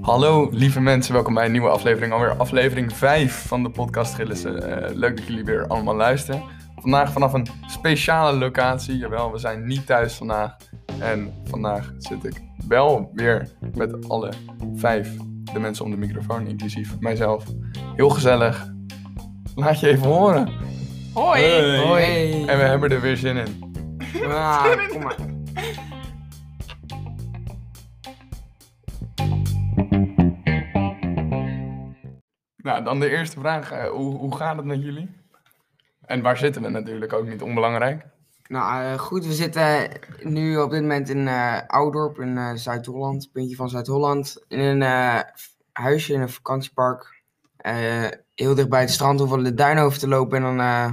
Hallo lieve mensen, welkom bij een nieuwe aflevering. Alweer aflevering 5 van de podcast Gillissen. Eh, leuk dat jullie weer allemaal luisteren. Vandaag vanaf een speciale locatie. Jawel, we zijn niet thuis vandaag. En vandaag zit ik wel weer met alle vijf de mensen om de microfoon, inclusief mijzelf. Heel gezellig. Laat je even horen. Hoi. Hoi. En we hebben er weer zin in. Ah, kom maar. Nou, dan de eerste vraag. eh, hoe, hoe gaat het met jullie? En waar zitten we natuurlijk ook niet onbelangrijk. Nou eh, goed, we zitten nu op dit moment in eh Oudorp in eh, Zuid-Holland, puntje van Zuid-Holland. In een eh, huisje in een vakantiepark. Eh, heel dicht bij het strand, hoeven we de Duinhoofd te lopen en dan eh,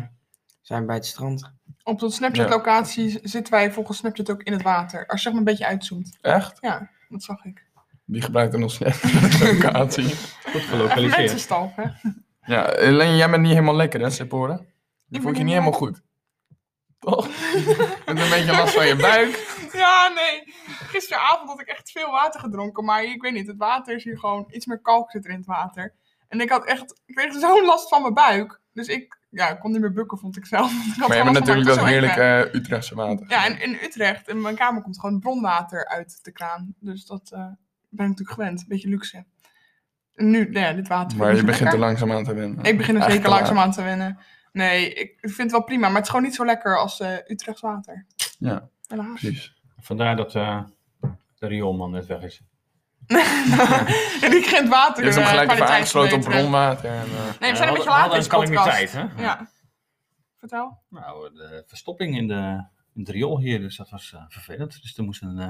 zijn we bij het strand. Op zo'n Snapchat-locatie z- zitten wij volgens Snapchat ook in het water. Als je zeg maar een beetje uitzoomt. Echt? Ja, dat zag ik. Die gebruikt er nog steeds locatie. Goed Even gelokaliseerd. mensenstal, hè? Ja, alleen jij bent niet helemaal lekker, hè, Seppora? Ik ben voel je niet niet helemaal goed. Toch? Met een beetje last van je buik. Ja, nee. Gisteravond had ik echt veel water gedronken. Maar ik weet niet, het water is hier gewoon... Iets meer kalk zit er in het water. En ik had echt... Ik kreeg zo'n last van mijn buik. Dus ik ja, ik kon niet meer bukken, vond ik zelf. Ik had Maar je gewoon hebt last van mijn- natuurlijk het dat was zo eng, hè. heerlijke eh, Utrechtse water. Ja, en in Utrecht, in mijn kamer komt gewoon bronwater uit de kraan. Dus dat eh, ben ik natuurlijk gewend. Beetje luxe. En nu, nou ja, dit water. vind Maar ik je niet begint er lekker. langzaam aan te wennen. Ik begin er Echt zeker te langzaam aan te wennen. Nee, ik vind het wel prima, maar het is gewoon niet zo lekker als eh Utrechts water. Ja. Helaas. Precies. Vandaar dat eh, de rioolman net weg is. en ik geen water. Je hebt hem eh, gelijk even kwaliteit aangesloten op verbeteren. bronwater. En, eh, Nee, we zijn een beetje We laat in hadden deze een podcast. calamiteit, hè? Ja. Vertel. Nou, de verstopping in, de, in het riool hier, dus dat was eh, vervelend. Dus er moest een eh,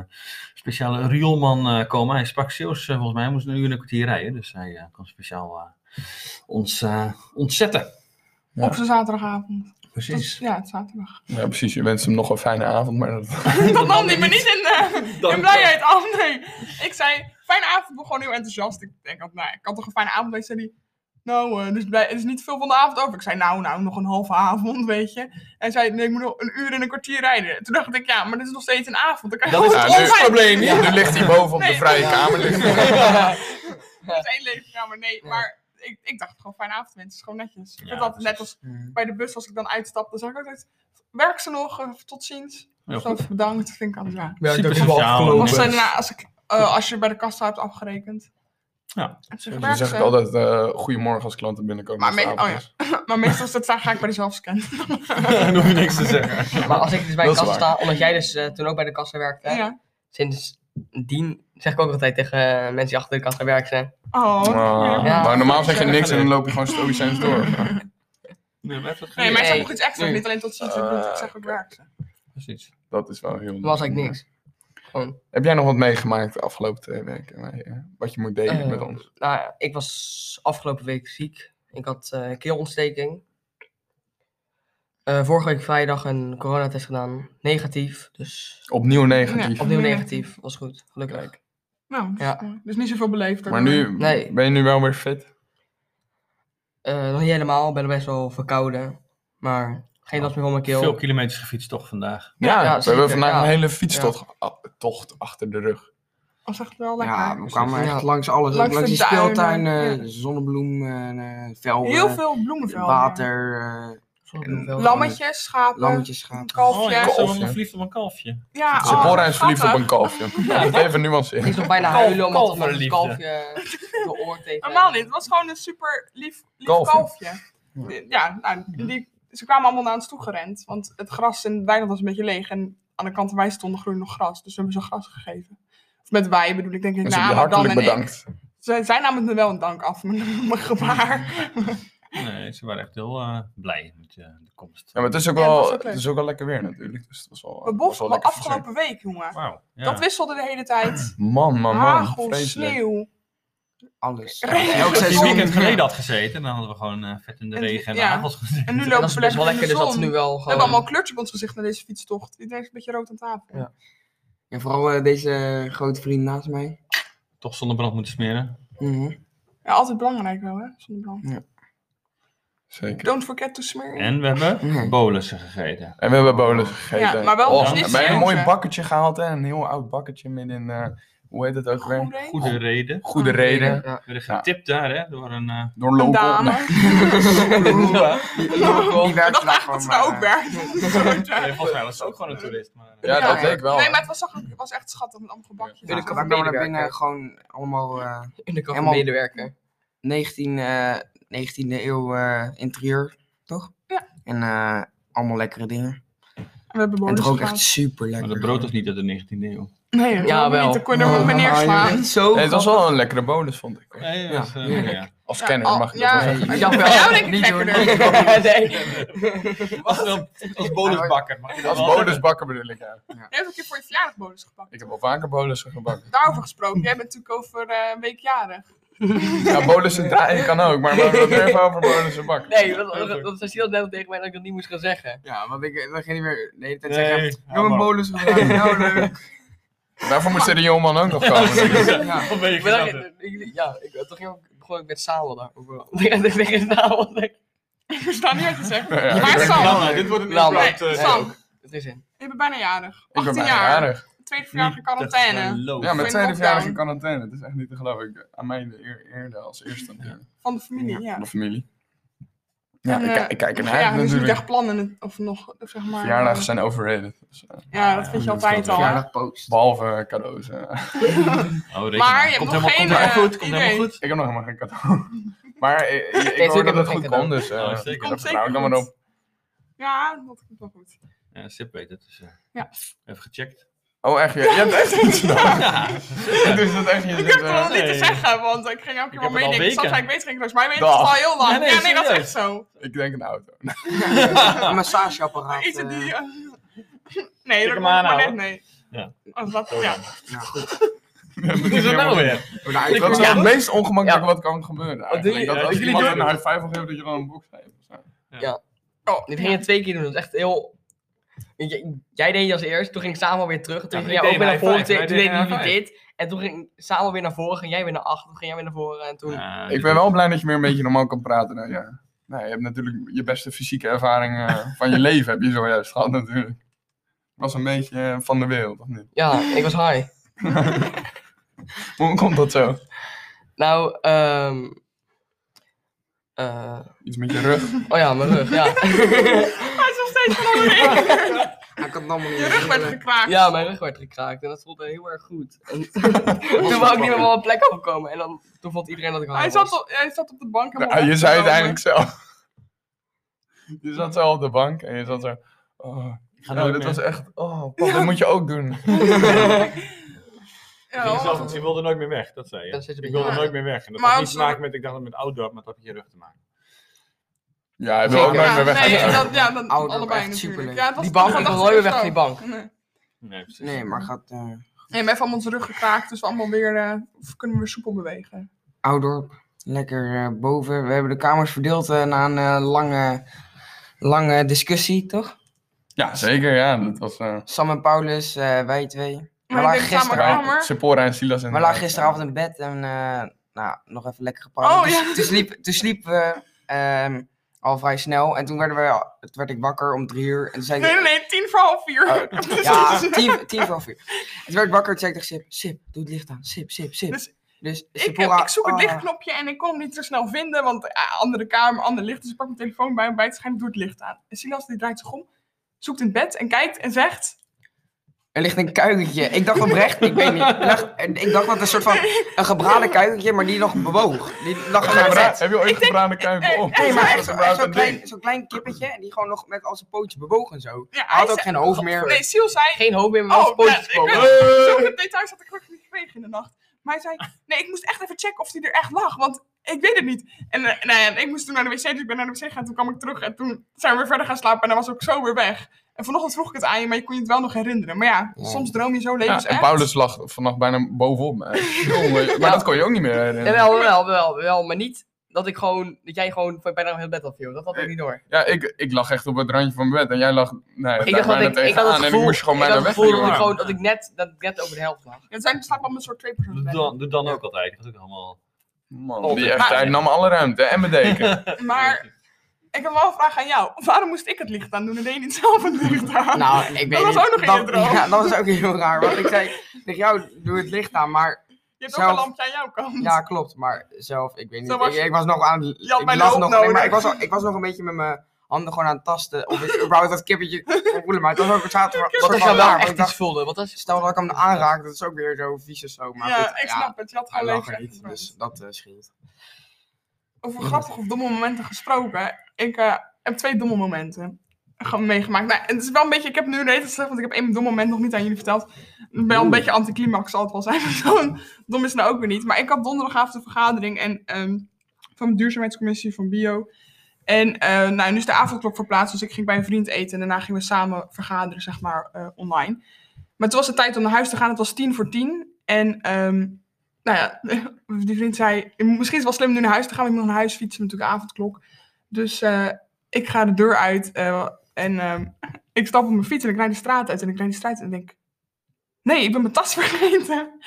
speciale rioolman eh, komen. Hij sprak Zeeuws, eh, volgens mij. Hij moest een uur en een kwartier rijden. Dus hij eh, kon speciaal eh, ons eh, ontzetten. Ja. Op zijn zaterdagavond. Dat is- Precies. ja, het is zaterdag. ja, precies. Je wenst hem nog een fijne avond, maar dat... Dat nam hij me niet in, eh, Dank in blijheid af. Nee. Ik zei, fijne avond. Ik ben gewoon heel enthousiast. Ik denk, dat, nou, ik had toch een fijne avond. Hij zei, die, nou, eh dus blij, er is niet veel van de avond over. Ik zei, nou, nou, nog een halve avond, weet je. Hij zei, nee, ik moet nog een uur en een kwartier rijden. Toen dacht ik, ja, maar dit is nog steeds een avond. Dan kan je Dat is het gewoon tot nu- vijf- probleem, ja. Nu ligt hij boven op de Nee, vrije ja. kamer. Ligt hij. Dat is één leefkamer, nee. Maar ik, ik dacht gewoon, fijne avond, mensen. Het is gewoon netjes. Ik vind dat net als bij de bus, als ik dan uitstap, dan zeg ik altijd, werk ze nog, eh, tot ziens. Heel Zo, bedankt, vind ik altijd raar. Ja, ik heb wel afgelopen. Als, ze daarna- als, ik, eh, als je bij de kassa hebt afgerekend. Ja. En ze Dan werken zeg ze. ik altijd eh goedemorgen als klanten binnenkomen. Maar als het me- avond oh ja. is. Maar meestal is dat, ga ik bij de zelfscan. Dan hoef je niks te zeggen. Maar als ik dus bij Dat de is kassa waar. sta, omdat jij dus eh, toen ook bij de kassa werkte, hè, ja. sindsdien zeg ik ook altijd tegen eh, mensen die achter de kassa werken zijn. Oh. Ah, ja. Ja. Maar normaal zeg je niks en dan loop je gewoon stoïcijns door. Nee, maar even- Nee, maar ik zeg Nee. nog iets extra. Nee. Niet alleen tot ziens. ik bedoel, ik Eh, zeg ook werk ze. Precies. Dat is wel heel... Dat was eigenlijk niks. Heb jij nog wat meegemaakt de afgelopen twee weken? waar je- Wat je moet delen Eh, met ons? Nou ja, ik was afgelopen week ziek. Ik had eh, keelontsteking. Eh, vorige week vrijdag een coronatest gedaan. Negatief. Dus Opnieuw negatief. Ja. opnieuw Nee. negatief. Was goed. Gelukkig. Kijk. Nou, dus, Ja. eh, dus niet zoveel beleefd. Maar nu Nee. ben je nu wel weer fit. Eh, nog niet helemaal. Ik ben best wel verkouden. Maar geen last meer van mijn keel. Veel kilometers gefietst toch vandaag. Ja, ja, we zeker, hebben vandaag ja. een hele fietstocht a- tocht achter de rug. Was echt wel lekker. Ja, Dus we het- kwamen echt Ja. langs ook alles. Langs langs de die duinen, speeltuin, eh, ja. zonnebloem, eh, velden, Heel veel bloemenvelden. Lammetjes, schapen. ik Kalfjes. Kalfje. ben wel verliefd op een kalfje. ja, Ze Sephora oh, is verliefd op schattig. Nou, een kalfje. Ik Even nuanceren. is nog bijna Kalf- huilen omdat er nog een kalverliefde. kalfje de oor tegen... Normaal niet. Het was gewoon een super lief, lief Eh, Kalfje. kalfje. Ja, nou, die, ze kwamen allemaal naar ons toe gerend. Want het gras in het weiland was een beetje leeg. En aan de kant waar wij stonden groeide nog gras. Dus we hebben ze gras gegeven. Of met wij bedoel ik denk ik, Dus ik nou, je maar dan en hartelijk bedankt. bedankt. Zij, zij namen het me wel een dank af, mijn, mijn gebaar. Nee, ze waren echt heel eh, blij met eh, de komst. Ja, maar het is ook Ja, het wel, was ook het leuk. is ook wel lekker weer natuurlijk. Dus het was wel, We het was wel bochten wel lekker afgelopen week, jongen. Wauw. Ja. Dat wisselde de hele tijd. verzorgd. Man, Oh, man, man. Hagel, Vreselijk. Ah, sneeuw. Alles. Elk Elk Als je een weekend seizoen. geleden had gezeten, dan hadden we gewoon eh, vet in de En- regen en de ja. hagels gezeten. En nu Dat lopen is we best lekker wel in de lekker, dus dat is nu zon. wel We hebben gewoon... allemaal kleurtje op ons gezicht naar deze fietstocht. Iedereen is een beetje rood aan tafel. Ja. Ja, vooral eh, deze grote vriend naast mij. Toch zonnebrand moeten smeren. Mhm. Ja, altijd belangrijk wel, hè? Zonnebrand. Zeker. Don't forget to smear. it. En we hebben bolussen gegeten. En we hebben bolen gegeten. Ja, maar wel Och, dus niet en bij een serieus, mooi hè? bakketje gehaald, hè. Een heel oud bakketje midden in, eh, hoe heet het ook weer? Goed, hè? Goede reden. Goede reden. Ja. We werden Ja. getipt daar, hè, door een... eh, Door Een local. dame. Nee, Oeroe. Oeroe. Maar Die werkt dat daar dacht gewoon, dat ze daar ook maar, werkt. Zoiets, ja. nee, volgens mij was het ook gewoon een toerist. Maar, eh, Ja, dat Ja. leek wel. Nee, maar het was, ook, het was echt schattig met allemaal gebakjes. Ja, Vind ik we ook kwamen naar medewerker. binnen gewoon allemaal eh, In de kant Helemaal- medewerker. 19, eh 19e eeuw eh, interieur, toch? Ja. En eh, allemaal lekkere dingen. En we hebben en bonus het rook gehad. echt super lekker. maar dat brood was niet uit de 19e eeuw. Nee, dat Ja, kon wel. niet. Dan kon je er met meneer slaan. Zo. Nee, het was wel een lekkere bonus, vond ik. hoor. Nee, dat is, eh, heerlijk. ja. Als Ja, kenner al- mag je dat ja. wel zeggen. Ja. Ja, Bij jou denk ik lekkerder. Was wel eh, als bonusbakker. mag je dat Als wel zeggen. bonusbakker bedoel ik, ja. Je hebt een keer voor je verjaardag bonus gepakt. Ik heb al vaker bolussen gebakken. Daarover gesproken, jij bent natuurlijk over eh, een week jarig. Ja, bolussen draaien kan ook, maar we hebben het nu even over bolussen bakken. Nee, dat, dat, dat zei Silas net al tegen mij dat ik dat niet moest gaan zeggen. Ja, want ik eh, dan ging niet meer de hele tijd Nee, zeggen. ja, Nog een man. bolus gedaan, nou leuk. Daarvoor moest er die jongeman ook nog komen. Ja. Of ben je Ik ben gezellig? dan- ik- ja, ik, toen ging ik, begon ik met Saal daarover. Tegen Saal. Ik versta Dus niet wat je zegt. Ja, Maar ik Sam, Nou, dit wordt een Nou, nee, eh, Sam, Het is in. je bent bijna jarig. Ik 18 ben bijna jaar. jarig. Tweede verjaardag in Niet eh, te quarantaine. geloven. Ja, Voor mijn een tweede lockdown. verjaardag in quarantaine. Dat is echt niet te geloven. Ik, aan mij de eer, eerde als eerste natuurlijk. Van de familie, ja. Van de familie. Ja, En, ik, eh, ik kijk ernaar Ja, uit dus eh, niet natuurlijk. echt plannen of nog, of zeg maar... Verjaardagen zijn overrated. Dus, eh, Ja, dat vind je Ja, altijd al. dat hè? Verjaardag post. behalve eh, cadeaus. eh. Oh, reken Maar je hebt komt nog helemaal, geen, komt helemaal eh, goed, komt helemaal idee. goed. ik heb nog helemaal geen cadeau. Maar eh, ik, ik, Deze hoor dat week heb het ik goed geen kon, dus eh Ja, Oh, zeker. dat Komt vertrouw zeker ik dan maar goed. op. Ja, dat komt wel goed. Ja, Sip weet het. Dus, eh, Ja. Even gecheckt. Oh, echt? Je, je hebt echt iets nodig. Ja, Het is dat echt niet. Ik heb het al eh, niet te nee. zeggen, want ik ging elke keer Ik wel heb het al meedenken. Soms weken. zei ik weet geen maar weet het Dag. al heel lang. Nee, nee, ja, nee, dat is serieus. echt zo. ik denk een auto. Een massageapparaat. Iets in eh, die... eh, nee, dat hem komt maar net aanhouden. nee. Ja. Als dat, ja. wat is er nou weer? door de uit- Dat is wel Ja. het meest ongemakkelijk Ja. wat kan gebeuren. eigenlijk. jullie- Dat ja, als jullie iemand doen een high five wil geven, dat je dan een box geeft. of zo. Oh, Dit ging je twee keer doen. Dat is echt heel... J- Jij deed het als eerst, toen ging Samuel weer terug. Toen Ja, ging ik jij ook deed weer naar een high voren, five, toen toen wij deed deden een hij dit. En toen ging Samuel weer naar voren, ging jij weer naar achter, toen ging jij weer naar voren. En toen... Ja, Ik ben wel blij dat je weer een beetje normaal kan praten. Nou, ja. nou, je hebt natuurlijk je beste fysieke ervaring eh, van je leven, heb je zojuist gehad natuurlijk. Was een beetje eh, van de wereld, of niet? Ja, ik was high. Hoe komt dat zo? Nou, ehm... eh, Iets met je rug. oh ja, mijn rug, ja. Hij is nog steeds van onder de ring. Hij kan het allemaal niet Je rug werd meer. gekraakt. Ja, mijn rug werd gekraakt en dat voelde heel erg goed. En toen wou ik niet meer op mijn plek opkomen en dan, toen vond iedereen dat ik high Hij was. zat, op, hij zat op de bank. helemaal Nou, je zei het weggenomen. eigenlijk zelf. Je zat zo op de bank en je zat zo. Oh, ga nou, nooit dit meer. was echt. Oh, pap, dat moet je ook doen. Ik Ja, ging hoor. zelf, want je wilde nooit meer weg, dat zei je. Dat is het Ik wilde Ja. nooit meer weg. En dat Maar had niet als- te maken met, ik dacht dat het met oudorp, maar dat had met je rug te maken. Ja, hij wil ook Zeker. nooit Ja, meer weg. nee, dat, ja, dan Ouder, allebei echt natuurlijk. superleuk. Ja, het was Die bank, dat ik dacht wil nooit eerst weer weg, die ook. bank. Nee. Nee, precies. Nee, maar gaat eh Nee, we hebben allemaal onze rug gekraakt, dus we allemaal weer eh, of kunnen we weer soepel bewegen. Oudorp. Lekker eh, boven. We hebben de kamers verdeeld eh, na een eh, lange, lange discussie, toch? Ja, zeker, ja. Dat was. eh, Sam en Paulus, eh, wij twee. Maar Maar ik lagen denk samen gisteren- kamer. Sephora en Silas en. We lagen gisteravond in bed en eh, nou, nog even lekker gepraat. Oh, toen, ja. toen, sliep, toen sliepen we ehm, al vrij snel. En toen, werden we, al- toen werd ik wakker om drie uur. En toen zei ik... Nee, nee, nee, tien voor half vier. Ja, tien, tien voor half uur. Toen werd ik wakker en toen zei ik tegen Sip, Sip, doe het licht aan. Sip, Sip, Sip. Dus Dus, dus ik, heb, Sephora, ik zoek het ah, lichtknopje en ik kon hem niet zo snel vinden, want eh, andere kamer, ander licht. Dus ik pak mijn telefoon bij hem bij het schijn, doe het licht aan. En Silas die draait zich om, zoekt in het bed en kijkt en zegt... Er ligt een kuikentje. Ik dacht oprecht, ik weet niet. Ik dacht, ik dacht dat het een soort van een gebraden kuikentje, maar die nog bewoog. Die lag naar bed. Heb je ooit gebraden eh, kuiken op? Nee, maar echt, Zo'n zo- bruin echt zo'n ding. klein, zo'n klein kippetje en die gewoon nog met al zijn pootjes bewoog en zo. Ja, Hij had ook zei- geen hoofd meer. Nee, Silas zei... Geen hoop meer, maar wel Oh, ja, pootjes ik weet komen. het. Zulke details had ik ook niet gekregen in de nacht. Maar hij zei, nee, ik moest echt even checken of hij er echt lag, want ik weet het niet. En eh, nou ja, ik moest toen naar de wc, dus ik ben naar de wc gegaan. Toen kwam ik terug en toen zijn we weer verder gaan slapen en hij was ook zo weer weg. En vanochtend vroeg ik het aan je, maar je kon je het wel nog herinneren. Maar ja, Ja. soms droom je zo Ja, levens en Paulus lag vannacht bijna bovenop mij. Jongen, maar dat kon je ook niet meer herinneren. Jawel, wel, wel, wel, maar niet dat ik gewoon, dat jij gewoon bijna heel bed afviel. Dat had ik niet door. Ja, ik, ik lag echt op het randje van mijn bed en jij lag nee, Ik dacht dat ik, ik had het en ik gevoel, moest je gewoon ik had bijna het weg. gevoel dat ik duwen. gewoon, dat ik net, dat ik net over de helft lag. Het zijn slaap allemaal een soort twee Doe personen. dan, doe dan ook altijd. Dat is ook allemaal... Man, Oh, die maar- echt, hij nam alle ruimte en mijn deken. Maar Ik heb wel een vraag aan jou. Waarom moest ik het licht aan doen en deed je niet zelf het licht aan? Nou, ik weet Dat was niet. ook nog in je droom. Ja, dat was ook heel raar. Want ik zei tegen jou, doe het licht aan. Maar je hebt ook zelf- een lampje aan jouw kant. ja, klopt. Maar zelf, ik weet niet. Zo was ik, je- ik was nog aan het... Je had ik mijn lag hulp nog, nee, nodig. maar ik was, al- ik was nog een beetje met mijn handen gewoon aan het tasten. Of ik überhaupt dat kippetje kon voelen. Maar het was ook het zaten Wat als van nou jou wel raar, want ik echt iets dacht, vulde? Wat als... Stel dat ik hem aanraak, dat is ook weer zo vies of zo. Maar Ja, goed, ik ja, snap het. Je had Hij gewoon lag leven. er niet, dus dat eh, scheelt. Over grappig of domme momenten gesproken. Ik eh, heb twee domme momenten ge- meegemaakt. Nou, het is wel een beetje, ik heb nu reeds gezegd, want ik heb één dom moment nog niet aan jullie verteld. Ik ben wel een beetje anticlimax, zal het wel zijn. maar Zo dom is het nou ook weer niet. Maar ik had donderdagavond een vergadering en, ehm, van de duurzaamheidscommissie van Bio. En eh, nou, nu is de avondklok verplaatst, dus ik ging bij een vriend eten. En daarna gingen we samen vergaderen, zeg maar, eh, online. Maar toen was het tijd om naar huis te gaan. Het was tien voor tien. En ehm, nou ja, die vriend zei, misschien is het wel slim om nu naar huis te gaan, want ik moet nog naar huis fietsen, natuurlijk avondklok. Dus eh, ik ga de deur uit eh, en ehm, ik stap op mijn fiets en ik rijd de straat uit en ik rijd de straat uit en ik denk, nee, ik ben mijn tas vergeten.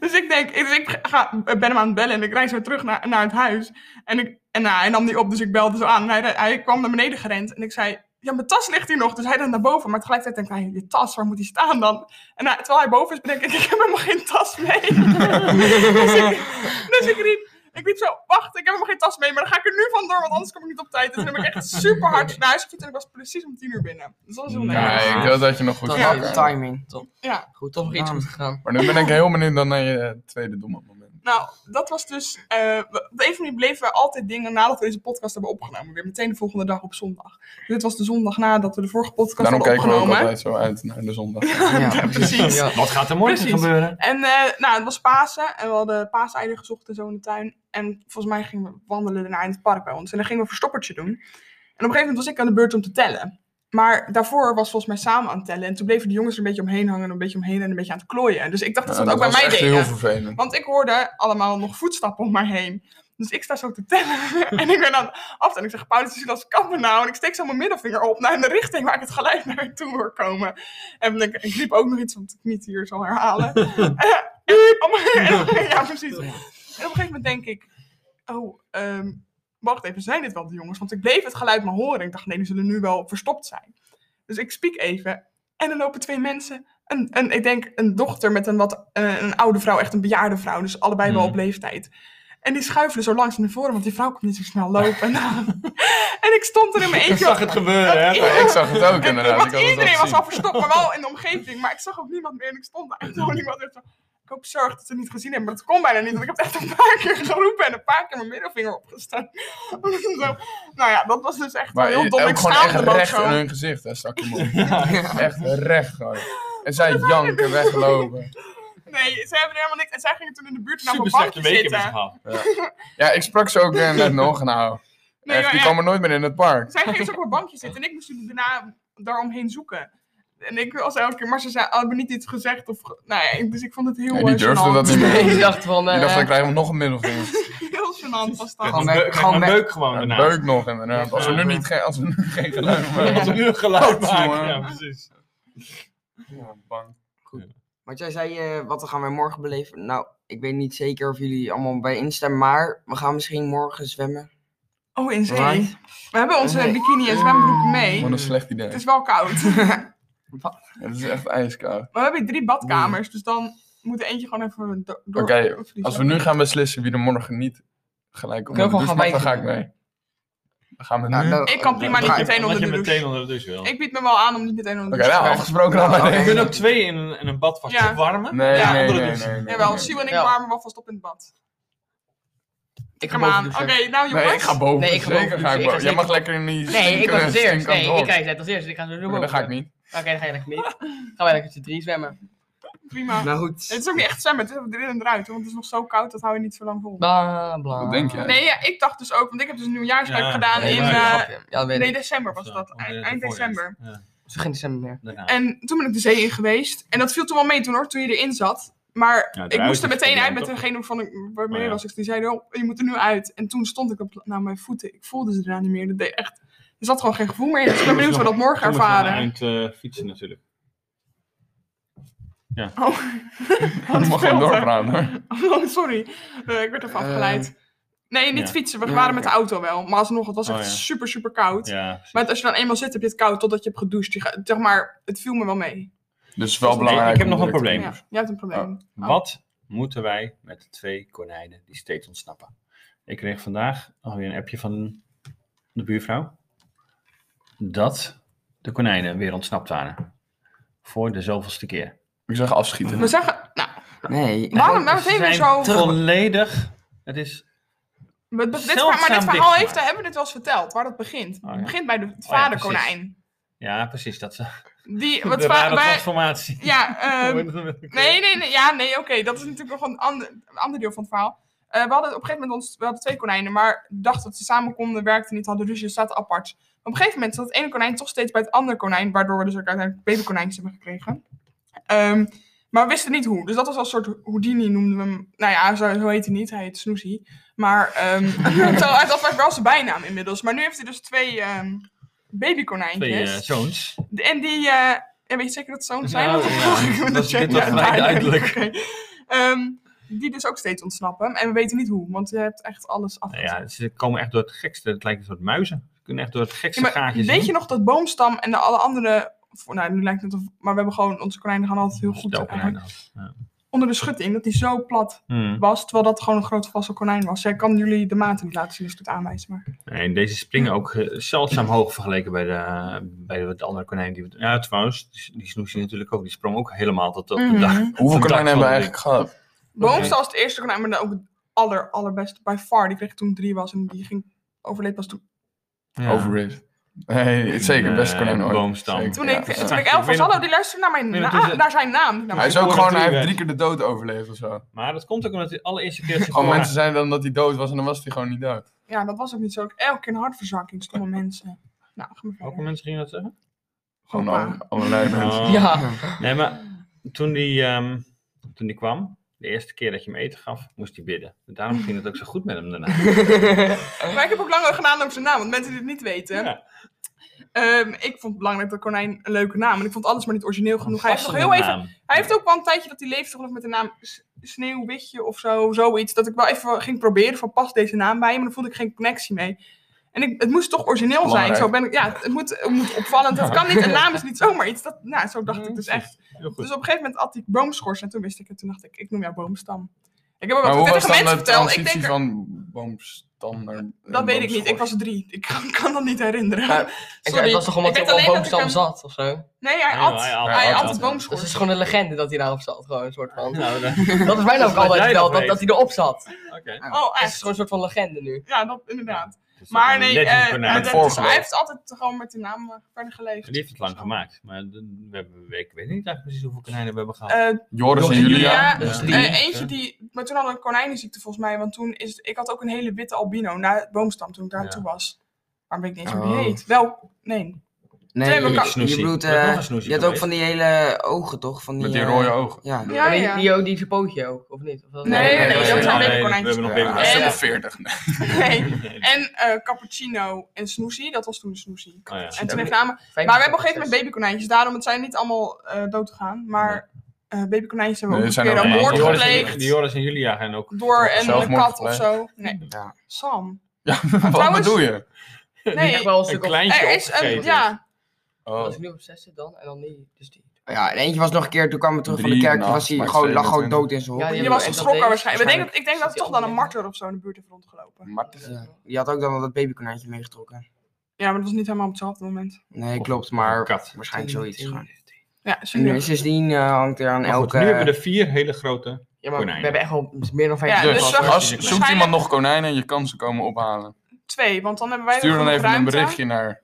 Dus ik denk, ik, ik ga, ik ben hem aan het bellen en ik rijd zo terug naar, naar het huis. En, ik, en nou, hij nam die op, dus ik belde zo aan. En hij, re- hij kwam naar beneden gerend en ik zei, ja, mijn tas ligt hier nog. Dus hij rent naar boven, maar tegelijkertijd denkt hij, je tas, waar moet die staan dan? En hij- terwijl hij boven is, bedenk ik, ik heb helemaal geen tas mee. Dus ik, dus ik riep, ik riep zo, wacht, ik heb nog geen tas mee, maar dan ga ik er nu vandoor, want anders kom ik niet op tijd. En toen heb ik echt super hard naar huis gefietst en ik was precies om tien uur binnen. Dus dat was heel lekker. Nee, ik dacht dat je nog goed Dat sprak, Wat is- hè. Ja. timing. Goed, toch nog iets Ja. goed gegaan. Maar nu ben ik heel benieuwd dan naar je eh, tweede domme moment. Nou, dat was dus, eh, we- op de een of andere manier bleven we altijd dingen nadat we deze podcast hebben opgenomen. Weer meteen de volgende dag op zondag. Dus dit was de zondag nadat we de vorige podcast Daarom hadden kijken we ook opgenomen. altijd zo uit naar de zondag. Ja. precies. Ja. Wat gaat er morgen Precies. gebeuren? En eh, nou, het was Pasen en we hadden paaseieren gezocht en zo in de tuin. En volgens mij gingen we wandelen daarna in het park bij ons. En dan gingen we een verstoppertje doen. En op een gegeven moment was ik aan de beurt om te tellen. Maar daarvoor was volgens mij samen aan het tellen. En toen bleven de jongens er een beetje omheen hangen, en een beetje omheen en een beetje aan het klooien. En Dus ik dacht dat ze Ja, dat ook bij was mij echt deden. heel vervelend. Want ik hoorde allemaal nog voetstappen om mij heen. Dus ik sta zo te tellen. en ik ben aan het af. En ik zeg, Paulus, zie dat kappen nou. En ik steek zo mijn middelvinger op naar de richting waar ik het geluid naar toe hoor komen. En ik, ik riep ook nog iets wat ik niet hier zal herhalen. Eh, en- om- ja, precies. En op een gegeven moment denk ik, oh, ehm, wacht even, zijn dit wel de jongens? Want ik bleef het geluid maar horen. Ik dacht, nee, die zullen nu wel verstopt zijn. Dus ik spiek even. En er lopen twee mensen een, een, ik denk een dochter met een wat eh, een oude vrouw, echt een bejaarde vrouw, dus allebei wel Mhm. op leeftijd. En die schuifelen zo langs naar voren, want die vrouw kon niet zo snel lopen. en ik stond er in mijn Ik eentje. zag het gebeuren, hè? Ja. Ja, ik zag het ook En, inderdaad. want nou, ik had het ook iedereen was gezien. al verstopt, maar wel in de omgeving. Maar ik zag ook niemand meer en ik stond daar. En toen iemand echt zo, ik hoop zorg dat ze het niet gezien hebben, maar dat kon bijna niet. Want ik heb het echt een paar keer geroepen en een paar keer mijn middelvinger opgestoken. Zo, nou ja, dat was dus echt Maar eh, heel dom. ook Ik gewoon echt schaamde me ook recht eh, zo. in hun gezicht, hè, stak hem op. Echt recht gewoon. En zij janken, weglopen. Nee, ze hebben er helemaal niks. En zij gingen toen in de buurt naar Super mijn slechte bankje week hebben ze zitten. gehad. Ja, ik sprak ze ook eh, net nog. Nou, Nee, echt, maar die ja. komen nooit meer in het park. Zij ging dus ook op een bankje zitten en ik moest jullie daarna daaromheen zoeken. En ik was elke keer, maar ze zei, hadden me niet iets gezegd. Of, ge- nou ja, ik- dus ik vond het heel Nee, die eh, durfde gênant. dat niet meer. Ik dacht van... Die eh, dacht, dan krijgen we nog een middelvinger. Heel gênant was dat. Gewoon Een weg- beuk- gewoon Een weg. beuk gewoon Een daarna. beuk nog inderdaad. Als we nu, niet geen, als we nu geen geluid Dat was maken. een uur geluid Ja. maken. Ja, precies. Ja, bang. Want jij zei, eh, wat gaan wij morgen beleven? Nou, ik weet niet zeker of jullie allemaal bij instemmen, maar we gaan misschien morgen zwemmen. Oh, in zee. Right. We hebben onze Nee. bikini en zwembroeken mee. Wat een slecht idee. Het is wel koud. maar Het is echt ijskoud. we hebben hier drie badkamers, dus dan moet er eentje gewoon even do- door. Oké, vriezen. Als we nu gaan beslissen wie er morgen niet gelijk om Kun je de gewoon douche gaan mag, dan ga ik wijzigen. mee. Dan gaan we nu. Nou, Oké, dat- Ik kan prima niet dat- dat- meteen onder Omdat de je douche. meteen onder de douche wil. Ik bied me wel aan om niet meteen onder de douche nou, te gaan. afgesproken dan maar. Nou, Je nee. kunt ook twee in een, in een bad vast Ja. verwarmen. Nee, Ja. nee, Onder de nee, douche. nee, nee. Jawel, Sue en ik Ja. warmen wel vast op in het bad. Ik ga Kom aan. boven Oké, de douche. nou jongens. Nee, ik ga boven. Nee, ik ga boven zeker douchen. ga ik Ik boven. ga Jij mag zeker- lekker in die Nee, ik was stinkende als eerst. stinkende Nee, ik hol. krijg het als eerst. Ik ga zo Maar boven. dat ga ik niet. Oké, dan ga je lekker mee. Gaan wij lekker met z'n drie zwemmen. Prima. Nou Het goed. is ook niet echt zwemmen, het is erin en eruit, hoor, want het is nog zo koud, dat hou je niet zo lang vol. Bla bla. Wat denk jij? Nee, ja, ik dacht dus ook, want ik heb dus een nieuwjaarsduik Ja, gedaan nee, in... maar- eh, ja, dat weet nee, ik. december was Zo, dat, onder de- eind eind de voorjaar. december. Ja, Zo geen december meer. daarna. En toen ben ik de zee in geweest, en dat viel toen wel mee toen hoor, toen je erin zat. Maar Ja, ik eruit moest er meteen is het uit probleem, met toch? degene van ik, waarmee Oh, ja. was ik. Die zei, oh, je moet er nu uit. En toen stond ik op, nou, mijn voeten, ik voelde ze eraan niet meer. Dat deed echt, er zat gewoon geen gevoel meer in. Dus ik ben moest benieuwd hoe we dat morgen Toen moest je aan het ervaren. eind eh, fietsen natuurlijk. Oh, Je mag gewoon filter. doorpraten hoor. Oh, sorry. Eh, ik werd even Eh, afgeleid. Nee, niet Ja. fietsen. We Ja, waren met oké. de auto wel. Maar alsnog, het was Oh, echt ja. super, super koud. Ja, precies. Maar als je dan eenmaal zit, heb je het koud totdat je hebt gedoucht. Je gaat- zeg maar, het viel me wel mee. Dus het is wel Ik- belangrijk. ik heb om nog een druk te- probleem. Ja, je hebt een probleem. Oh. Wat moeten wij met de twee konijnen die steeds ontsnappen? Ik kreeg vandaag alweer een appje van de buurvrouw. Dat de konijnen weer ontsnapt waren. Voor de zoveelste keer. Ik zeg afschieten. We zeggen, nou, Nee. waarom nou Dus Ze meteen weer zijn zo... Volledig. Het is. We- we- dit verhaal- maar zeldzaam dit verhaal dichtgemaakt. heeft, hebben we dit wel eens verteld, waar dat begint. Oh, ja. Het begint bij de, het ja, vaderkonijn. Ja, precies. Dat is die, de wat va- rare bij- transformatie. Ja, ehm, Hoe heet het? Nee, nee, nee. Ja, nee, oké. Dat is natuurlijk nog een ander, een ander deel van het verhaal. Eh, we hadden op een gegeven moment ons, we hadden twee konijnen, maar dachten dat ze samen konden, werkten niet, hadden ruzie, zaten apart. Maar op een gegeven moment zat het ene konijn toch steeds bij het andere konijn, waardoor we dus ook uiteindelijk babykonijntjes hebben gekregen. Ehm, maar we wisten niet hoe. Dus dat was al een soort Houdini noemden we hem. Nou ja, zo, zo heet hij niet. Hij heet Snoezy. Maar ehm zo, uit dat was wel zijn bijnaam inmiddels. Maar nu heeft hij dus twee ehm, babykonijntjes. Twee eh, zoons. De- En die, eh en weet je zeker dat het zo'n zijn? Nou, Want ja, dat vroeg ik me dat net is dit checken. wel vrij duidelijk. oké. Ehm, die dus ook steeds ontsnappen. En we weten niet hoe, want je hebt echt alles af. Nou Ja, ze komen echt door het gekste. Het lijkt een soort muizen. Ze kunnen echt door het gekste Ja, maar gaatje zien. weet je nog dat boomstam en de alle andere... of, Nou, nu lijkt het of... Maar we hebben gewoon... Onze konijnen gaan altijd heel goed. Stel eigenlijk. konijnen. Ja. Onder de schutting, dat die zo plat Hmm. was. Terwijl dat gewoon een groot vaste konijn was. Zij kan jullie de maten niet laten zien als ik het aanwijs. Maar... Nee, en deze springen ook eh, zeldzaam hoog vergeleken bij de, bij de, de andere konijn. Die, we- ja, trouwens, die, die snoesie natuurlijk ook. Die sprong ook helemaal tot op de Mhm. dag. Hoeveel Op de konijnen dak hebben we van eigenlijk gehad? Boomstam was de eerste konijn, maar dan ook het aller, allerbeste. By far. Die kreeg ik toen ik drie was. En die ging, overleed pas toen de- Ja. Overrated. Nee, zeker. Beste konijn Eh, ooit. boomstam. Zeker, Toen ja. ik, Ja. toen ik Ik elf was, weet nog- hallo, die luisterde naar, mijn weet nog na- toen ze- naar zijn naam. Nou, niet Hij naar mijn is ook woorden. gewoon, hij heeft Natuurlijk. drie keer de dood overleefd of zo. Maar dat komt ook omdat de allereerste keer... dat ze Gewoon voor- mensen zeiden dan dat hij dood was en dan was hij gewoon niet dood. Ja, dat was ook niet zo. Ik- Elke keer een hartverzakking, stomme mensen. Nou, ga maar Welke verder. mensen gingen dat zeggen? Gewoon Opa. alle- allerlei mensen. Oh. Ja. Nee, maar toen die, ehm, toen die kwam, de eerste keer dat je hem eten gaf, moest hij bidden. Daarom ging het ook zo goed met hem daarna. Maar ik heb ook lang gedaan over zijn naam, want mensen die het niet weten. Ja. Ehm, ik vond het belangrijk dat Konijn een leuke naam. En ik vond alles maar niet origineel genoeg. Hij heeft, nog Passende heel even, naam. hij heeft ook wel een tijdje dat hij leefde geloof ik, met de naam S- Sneeuwwitje of zo, zoiets. Dat ik wel even ging proberen van past deze naam bij je, maar dan voelde ik geen connectie mee. En ik, het moest toch origineel zijn. Belangrijk. Zo ben ik, ja, het moet, het moet opvallend. Het kan niet, een naam is niet zomaar iets. Dat, nou, zo dacht ik dus echt. Heel goed. Dus op een gegeven moment at ik boomschors en toen wist ik het. Toen dacht ik, ik noem jou boomstam. Ik heb ook Maar wat hoe was tegen dan mensen de verteld. Ik transitie denk, er- van boomstam naar dat weet ik niet. Ik was drie. Ik kan, kan dat niet herinneren. Ja, Ik, Sorry. het was toch omdat Ik hij weet op een alleen dat ik boomstam hem- zat of zo? Nee, hij Nee, at. hij Hij at- at, hij at. het Dat boomschors. is gewoon een legende dat hij daarop zat, gewoon een soort van. Nou, dan- Dat is mij Dat ook is wat altijd jij wel, nog dat, weet. dat hij erop zat. Het oké. Oh, is echt. gewoon een soort van legende nu. Ja, dat inderdaad. Dus Maar dat- nee, net een eh, konijn. maar Het dat- voorbeeld. hij heeft altijd gewoon met de naam eh, verder geleefd. Eh, Die heeft het lang gemaakt. Maar de- we hebben, ik weet niet eigenlijk precies hoeveel konijnen we hebben gehad. Eh, Joris en Joris en Julia. Ja, dus eh, drie. eentje die. Maar toen hadden we een konijnenziekte volgens mij. Want toen is. Ik had ook een hele witte albino na boomstam toen ik daar Ja. naartoe was. Maar ben ik niet eens hoe die Oh. heet. Wel, nee. Nee, Twee je, elkaar- je bedoelt, Dat was eh, een snoesie je had ook geweest. van die hele ogen toch? Van die, Met die eh, rode ogen. ja. Ja, en die, ja. die, die zijn pootje ook, of niet? Of dat- Nee, nee, nee, dat zijn we babykonijntjes. hebben nog Ja, babykonijntjes. dat is En- toch 40. Nee. Nee. En eh, Cappuccino en Snoezy, dat was toen de Snoezy. Oh ja. En toen heeft namen. Maar we hebben op een gegeven moment babykonijntjes, daarom het zijn niet allemaal eh, dood gegaan. Maar eh, babykonijntjes hebben Nee, ook er een keer zijn een ook moord allemaal- Joris en- gepleegd die Joris en Julia gaan ook. door een Zelfmoord kat of gepleegd. zo. Nee, Ja. Sam. Ja, wat Trouwens- bedoel je? Nee, Echt wel een Een stuk of... kleintje er is een, opgegeten. ja, Oh. Als ik nu op zes zit dan, en dan die. Dus die. Ja, en eentje was nog een keer, toen kwam we terug van Drie, de kerk, toen acht, was hij maar gewoon, lag gewoon 27. dood in zijn Ja, hok. die maar- was en dat geschrokken deed- waarschijnlijk. We denken, waarschijnlijk ik denk dat zit toch hij dan ook een in. marter of zo in de buurt heeft rondgelopen. Maar het is- Ja. Je had ook dan dat babykonijntje meegetrokken. Ja, maar dat was niet helemaal op hetzelfde moment. Nee, Of klopt, een maar kat. waarschijnlijk zoiets. gewoon. Ja, En nu serieus. sindsdien eh, hangt er aan Maar goed, elke... Nu hebben we er vier hele grote. Ja, maar Konijn. we hebben echt wel meer dan vijf Ja, jaar dus gehad, hoor. als, hartstikke zoekt leuk. iemand nog konijnen en je kan ze komen ophalen. Twee, want dan hebben wij Stuur nog dan genoeg even een ruimte. berichtje naar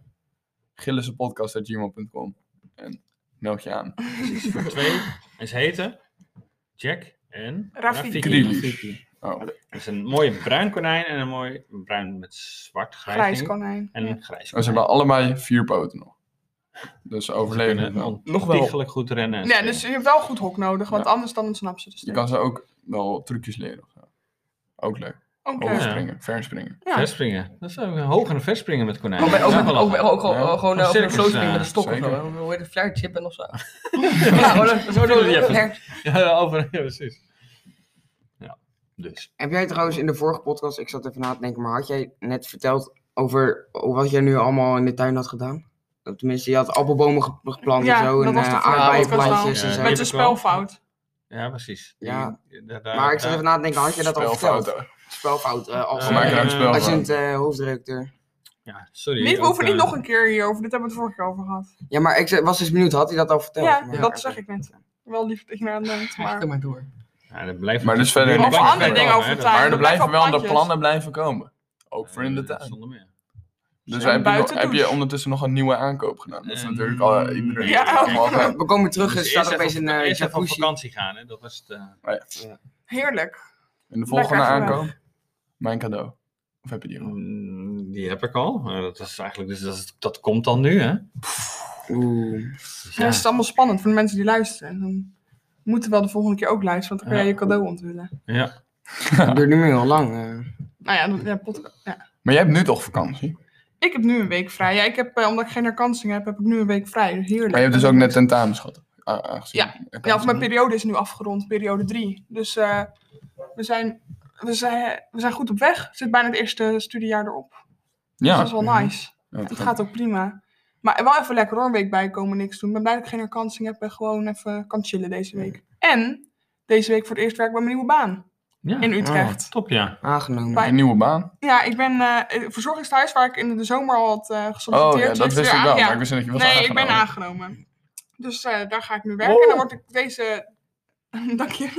gillissenpodcast.gmail.com en meld je aan. Oh, Twee. En ze heten Jack en Rafiki. Krilis. Oh. Dat is een mooie bruin konijn en een mooi bruin met zwart grijs. Grijs denk ik. konijn. En een grijs Oh, En Ze konijn. hebben allebei vier poten nog. Dus ze overleven het wel. Nog wel. Ontiegelijk goed rennen. en Ja, springen. dus je hebt wel goed hok nodig, want Ja. anders dan ontsnap ze. Dus Je kan ze ook wel trucjes leren. of zo. Ook leuk. Oké. Hoogspringen, verspringen. Ja. Verspringen. Dat is ook een hogere verspringen met konijnen. Ook bij- Oh, ook Dat is met- wel ook bij- ook lachen. gewoon- Ja. gewoon eh, op een circus, sloot eh, met een stok of zeker. zo. Hoe heet het? Fluitchippen of zo. Ja, gewoon een- zo- zo- Ja, zo- Ja, over, ja, precies. Dus. Heb jij trouwens in de vorige podcast, ik zat even na te denken, maar had jij net verteld over wat jij nu allemaal in de tuin had gedaan? Of Tenminste, je had appelbomen ge- geplant Ja, en zo, dat en was de eh, vorige aardbeienplantjes podcast al. en zo. Ja, Met die een heb ik wel. spelfout. Ja, precies. Ja. Die- daar- daar- Maar ik zat daar- even na te denken, had je dat al verteld? Spelfouten. Spelfout, eh als, We maken daar een spel als je van. het eh, hoofdredacteur. Ja, sorry. Niet, we hoeven ook, niet eh, nog een keer hierover. Dit hebben we het vorige keer over gehad. Ja, maar ik ze- was dus benieuwd, had hij dat al verteld? Ja, Maar- dat zeg ik net. Wel lief dat je naar denkt, Echt maar... maar door. Ja, dat blijft Maar dus verder- dat Of blijft andere wel dingen komen, over hè, tuin. Maar er er blijven blijven wel de plantjes. plannen blijven komen. Ook dat- voor in de eh, tuin. Zonder meer. Dus heb En je, nog- buiten heb je douche. ondertussen nog een nieuwe aankoop gedaan? Dat is Ehm, natuurlijk al eh, iedere ja. keer allemaal Ja. gaan. We komen terug en Dus staat eerst opeens even, een op- eh, eerst even op jacuzzi. vakantie gaan, hè. dat was het... eh, Heerlijk. En de volgende Lekker gedaan. aankoop? Mijn cadeau. Of heb je die al? Mm, Die heb ik al. Eh, dat, is eigenlijk, dus dat, is- dat komt dan nu, hè? Oeh. Dus Ja. ja. het is allemaal spannend voor de mensen die luisteren. Dan moeten we wel de volgende keer ook luisteren, want dan kun Ja. jij je cadeau onthullen. ja. Dat duurt nu meer heel lang. eh. Nou ja, dan- ja, podcast. ja. Maar jij hebt nu toch vakantie? Ik heb nu een week vrij. Ja, ik heb, eh, omdat ik geen herkansing heb, heb ik nu een week vrij. Dus Heerlijk. Maar je hebt dus ook net tentamens gehad. a- aangezien. Ja, of mijn periode is nu afgerond, periode 3. Dus eh, we, zijn, we, zijn, we zijn goed op weg. Zit bijna het eerste studiejaar erop. Dus Ja. dat is wel nice. Ja, Het gaat ook prima. Maar wel even lekker hoor, een week bijkomen, niks doen. Ik ben blij dat ik geen herkansing heb en gewoon even kan chillen deze week. En deze week voor het eerst werk bij mijn nieuwe baan ja. Ah. in Utrecht. Top, ja. Aangenomen. Bij- Een nieuwe baan? Ja, ik ben eh het verzorgingstehuis waar ik in de zomer al had eh gesolliciteerd. Oh ja, heeft dat wist weer ik wel. aan- ja. Maar ik wist niet dat je was Nee, ik ben aangenomen. Oh. aangenomen. Dus eh, daar ga ik nu werken. En dan word ik deze... Dank je.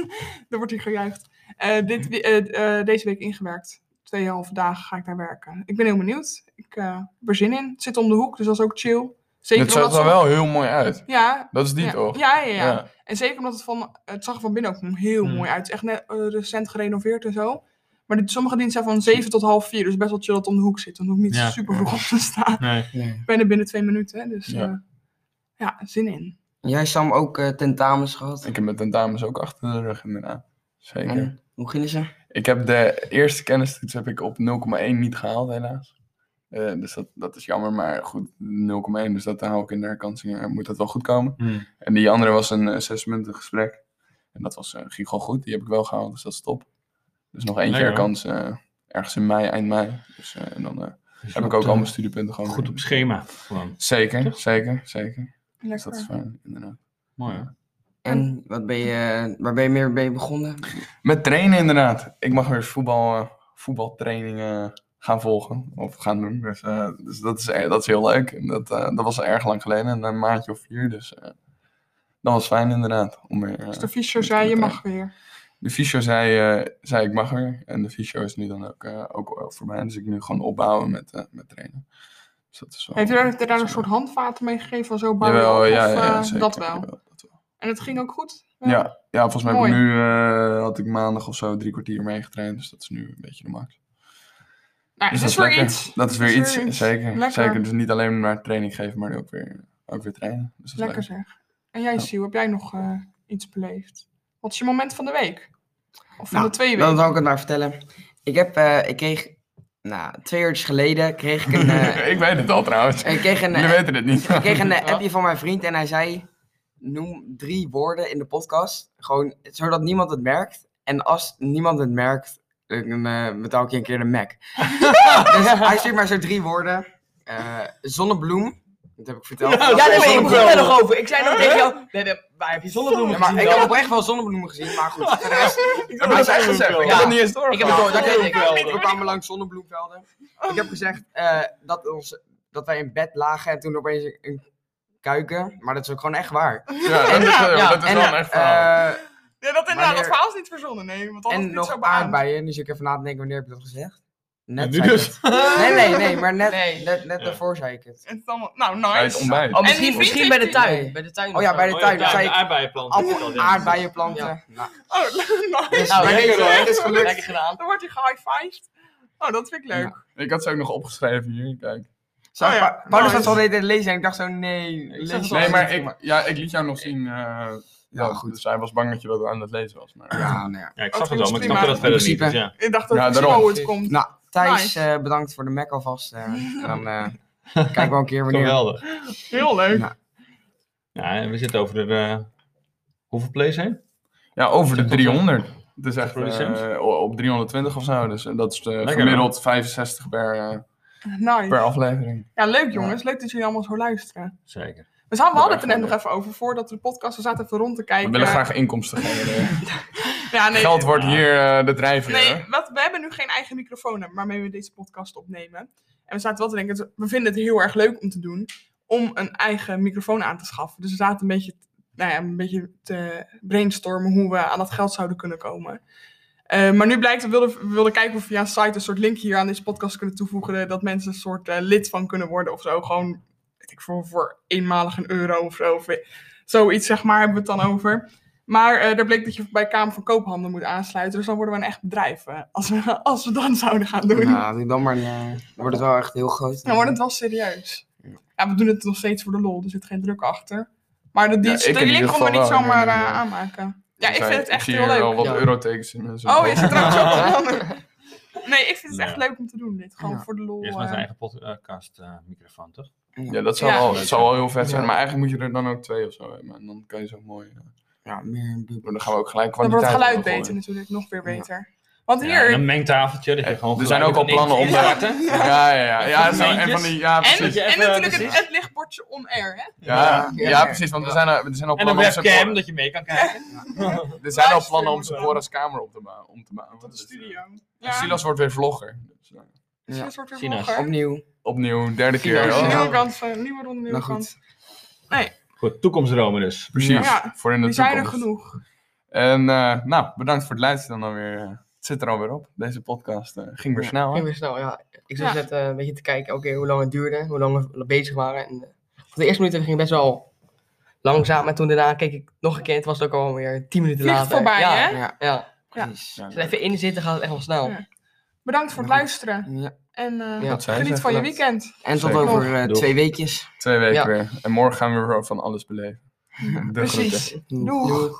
Dan wordt hier gejuicht. Eh, dit, we- eh, eh, deze week ingewerkt. Tweeënhalve dagen ga ik daar werken. Ik ben heel benieuwd. Ik eh, heb er zin in. Het zit om de hoek, dus dat is ook chill. Zeker Het zag omdat er ze- wel heel mooi uit. Ja. Dat is die ja, toch? Ja, ja, ja. En zeker omdat het van... Het zag er van binnen ook heel Hmm. mooi uit. Het is echt net, eh, recent gerenoveerd en zo. Maar dit, sommige diensten zijn van 7 tot half 4. Dus best wel chill dat het om de hoek zit. Dan hoef ik niet Ja. super vroeg op te staan. Nee. Nee. Ik ben er binnen twee minuten. Dus Ja. ja, ja zin in. Jij, Sam, ook eh, tentamens gehad? Ik heb mijn tentamens ook achter de rug inderdaad. Zeker. En hoe gingen ze? Ik heb de eerste kennistoets heb ik op 0,1 niet gehaald, helaas. Eh, dus dat, dat is jammer, maar goed, 0,1. Dus dat hou ik in de herkansing. eh, Moet dat wel goed komen. Hm. En die andere was een eh, zesmuntig gesprek. En dat was, eh, ging gewoon goed. Die heb ik wel gehaald, dus dat is top. Dus nog eentje Lekker, hoor. herkans eh, ergens in mei, eind mei. Dus, eh, en dan eh, Dus heb ik goed, ook eh, al mijn studiepunten gewoon. Goed op schema. Gewoon. Zeker, zeker, zeker. Dus Lekker. dat is fijn, inderdaad. Mooi, hè? En wat ben je, eh, waar ben je meer mee begonnen? Met trainen inderdaad. Ik mag weer voetbal, eh, voetbaltrainingen gaan volgen of gaan doen. Dus, eh, dus dat, is, eh, dat is heel leuk. En Dat, eh, dat was al erg lang geleden, een maandje of vier. Dus eh, dat was fijn inderdaad. Om weer, eh, Dus de fysio met- zei, met je de- mag weer. de fysio zei, eh, zei ik mag weer. En de fysio is nu dan ook, eh, ook wel voor mij. Dus ik nu gewoon opbouwen met, eh, met trainen. Dus dat is wel, Heeft u daar, heeft u daar dat een is soort wel- handvaten mee gegeven van zo bouwen? Jawel, of, ja, eh, ja, zeker, dat wel. jawel, dat wel. En het ging ook goed? Eh, Ja, ja, volgens mij heb ik Mooi. nu, eh, had ik maandag of zo drie kwartier meegetraind. Dus dat is nu een beetje de max. Nou, Dus het is dat weer is lekker. iets. Dat is weer iets, zeker. Lekker. Zeker, dus niet alleen maar training geven, maar ook weer, ook weer trainen. Dus dat is Lekker leuk. zeg. En jij, Ja. Siel, heb jij nog eh, iets beleefd? Wat is je moment van de week? Of van Nou, de twee Dan weken? zal ik het maar vertellen. Ik heb, eh, ik kreeg, nou, twee uurtjes geleden kreeg ik een, eh, ik weet het al trouwens. ik kreeg een, Jullie eh, weten het niet. ik kreeg een eh, appje van mijn vriend en hij zei, noem drie woorden in de podcast, gewoon zodat niemand het merkt. En als niemand het merkt, dan eh, betaal ik je een keer de Mac. dus hij stuurt maar zo drie woorden. Eh, zonnebloem, dat heb ik verteld. Ja, dat daar is ben ik zonnebloem. er nog over. Ik zei nog tegen jou, nee, nee, waar heb je zonnebloemen Ja, maar gezien ik dan? heb oprecht wel zonnebloemen gezien, maar goed. Voor de rest, dat heb ik echt gezegd. Ik Ja. heb het niet eens door. Ik heb het door, dat weet ik. Oh, We kwamen langs zonnebloemvelden. Ik heb gezegd eh, dat, ons, dat wij in bed lagen en toen opeens een, een kuiken. Maar dat is ook gewoon echt waar. Ja, dat is, Ja, ja, dat is en wel een echt verhaal. eh, Ja, dat, inderdaad, dat wanneer- verhaal is niet verzonnen, nee. Want anders en is het zo nog beaamd. aardbeien. Dus ik even na te denken wanneer heb ik dat gezegd. Net nu zei ik dus. het. Nee, nee, nee. Maar net, Nee. net, net Ja. daarvoor zei ik het. Het is allemaal... Nou, Bij het nice. ontbijt. Oh, En die misschien, vriend misschien bij de heeft die- tuin. Bij de tuin Oh ja, of bij zo. de tuin. ja, Dat zei de ik. aardbeienplant. heb ik al, Appel, ja. Ah, aardbeien planten. Ja. Nou, Oh, nice. dus Nou, wij- lekker hoor. het is gelukt. Lekker gedaan. Dan wordt hij gehighfived. Oh, dat vind ik leuk. Ik had ze ook nog opgeschreven hier, kijk. Zo, Oh ja, Pa- Paulus nice. was al de hele tijd lezen en ik dacht zo, nee. zag lees het je al. Nee, wel maar niet, ik, ja, ik liet jou nog zien. eh, ja, goed. Dus hij was bang dat je dat aan het lezen was. Maar... Ja, nou ja. Ja, ik Oh, het zag het wel, is maar ik prima. snapte dat verder In niet. Dus principe. ja. Ik dacht dat Ja, ik zie daarom. wel hoe het komt. Nou, Thijs, Nice. eh, bedankt voor de Mac alvast. eh, en dan eh kijken we wel een keer wanneer. Geweldig. Heel leuk. Nou, Ja, en we zitten over de... eh, hoeveel plays heen? Ja, over de 300. Het is echt Voor die cent? eh, op 320 of zo. Dus eh, dat is eh, Lekker, gemiddeld 65 per, eh, per Nice. aflevering. Ja, leuk jongens. Leuk dat jullie allemaal zo luisteren. Zeker. We zaten- we Ja, hadden het er echt net wel nog even over, voordat we de podcast, we zaten even rond te kijken. We willen graag inkomsten genereren. Ja, nee, Geld wordt hier eh, de drijfveer. Nee, hè? wat, we hebben nu geen eigen microfoon waarmee we deze podcast opnemen. En we zaten wel te denken, het- we vinden het heel erg leuk om te doen, om een eigen microfoon aan te schaffen. Dus we zaten een beetje, nou ja, een beetje te brainstormen hoe we aan dat geld zouden kunnen komen. Eh, maar nu blijkt, we wilden, we wilden kijken of we via een site een soort link hier aan deze podcast kunnen toevoegen. eh, Dat mensen een soort eh, lid van kunnen worden of zo. Gewoon, weet ik voor, voor eenmalig een euro of zo. Of we- zoiets, zeg maar, hebben we het dan over. Maar eh daar bleek dat je bij Kamer van Koophandel moet aansluiten. Dus dan worden we een echt bedrijf. eh, als, we, als we dan zouden gaan doen. Nou, doe dan maar. eh, Dan wordt het wel echt heel groot. Dan wordt het wel serieus. Ja, we doen het nog steeds voor de lol. Er zit geen druk achter. Maar dat die, Ja, ik in die ieder link konden we geval niet wel, zomaar nee, nee, eh, nee. aanmaken. Ja, ik Zijn- vind het echt zie heel hier wel leuk. wat Ja. eurotekens in. en zo. Oh, je zit er ook zo van. Nee, ik vind het Ja. echt leuk om te doen. Dit gewoon Ja. voor de lol. Eerst met eh. zijn eigen podcast eh, microfoon, toch? Ja, dat zou, Ja. Wel, dat zou wel heel vet zijn. Ja. Maar eigenlijk moet je er dan ook twee of zo hebben. En dan kan je zo mooi... eh, Ja, meer een bubbel. maar dan gaan we ook gelijk Dan kwaliteit wordt het geluid opgooien. beter natuurlijk, nog weer Ja. beter. Want Ja, en hier, een mengtafeltje. Dat je Eh, gewoon Er zijn ook geluid al in één plannen om... keer Ja, maakt, hè? ja, ja. ja het zijn- en van die, ja, en, precies. je en even, natuurlijk het, precies. het lichtbordje on-air, hè? Ja, Ja. ja, precies. Want er zijn, er er zijn al En een plannen om zijn webcam, por- dat je mee kan kijken. er zijn al Livestream plannen om moet zijn wel. Cora's kamer op te bouwen. Om te bouwen. Tot de Dus, eh, studio. Ja, en Silas wordt weer vlogger. Dus, eh, Silas wordt weer Silas. vlogger. Opnieuw. opnieuw, derde Silas, keer. ja. Oh, Nieuwe kansen, nieuwe ronde, nieuwe Nou goed. kansen. Goed, toekomstromen dus. Precies, Ja, voor in de Die zijn er toekomst. genoeg. En eh, nou, bedankt voor het luisteren dan alweer. eh. Het zit er alweer op. Deze podcast eh, ging weer Ja. snel. hè? Ging weer snel, ja. Ik zat Ja. net eh, een beetje te kijken oké, hoe lang het duurde, hoe lang we bezig waren. En, eh, voor de eerste minuten ging het best wel langzaam. En toen daarna keek ik nog een keer. Het was het ook alweer tien minuten Vliegt later. voorbij, ja, hè? Ja, Ja. Ja. precies. Ja. Ja, Als je er even in zitten gaat het echt wel snel. Ja. Bedankt voor het luisteren. En eh, Ja. dat zijn geniet ze. van je Dat- weekend. En tot Zeker. over eh, Doeg. twee weekjes. Twee weken Ja. weer. En morgen gaan we weer van alles beleven. De groeten. Precies. Doeg. Doeg.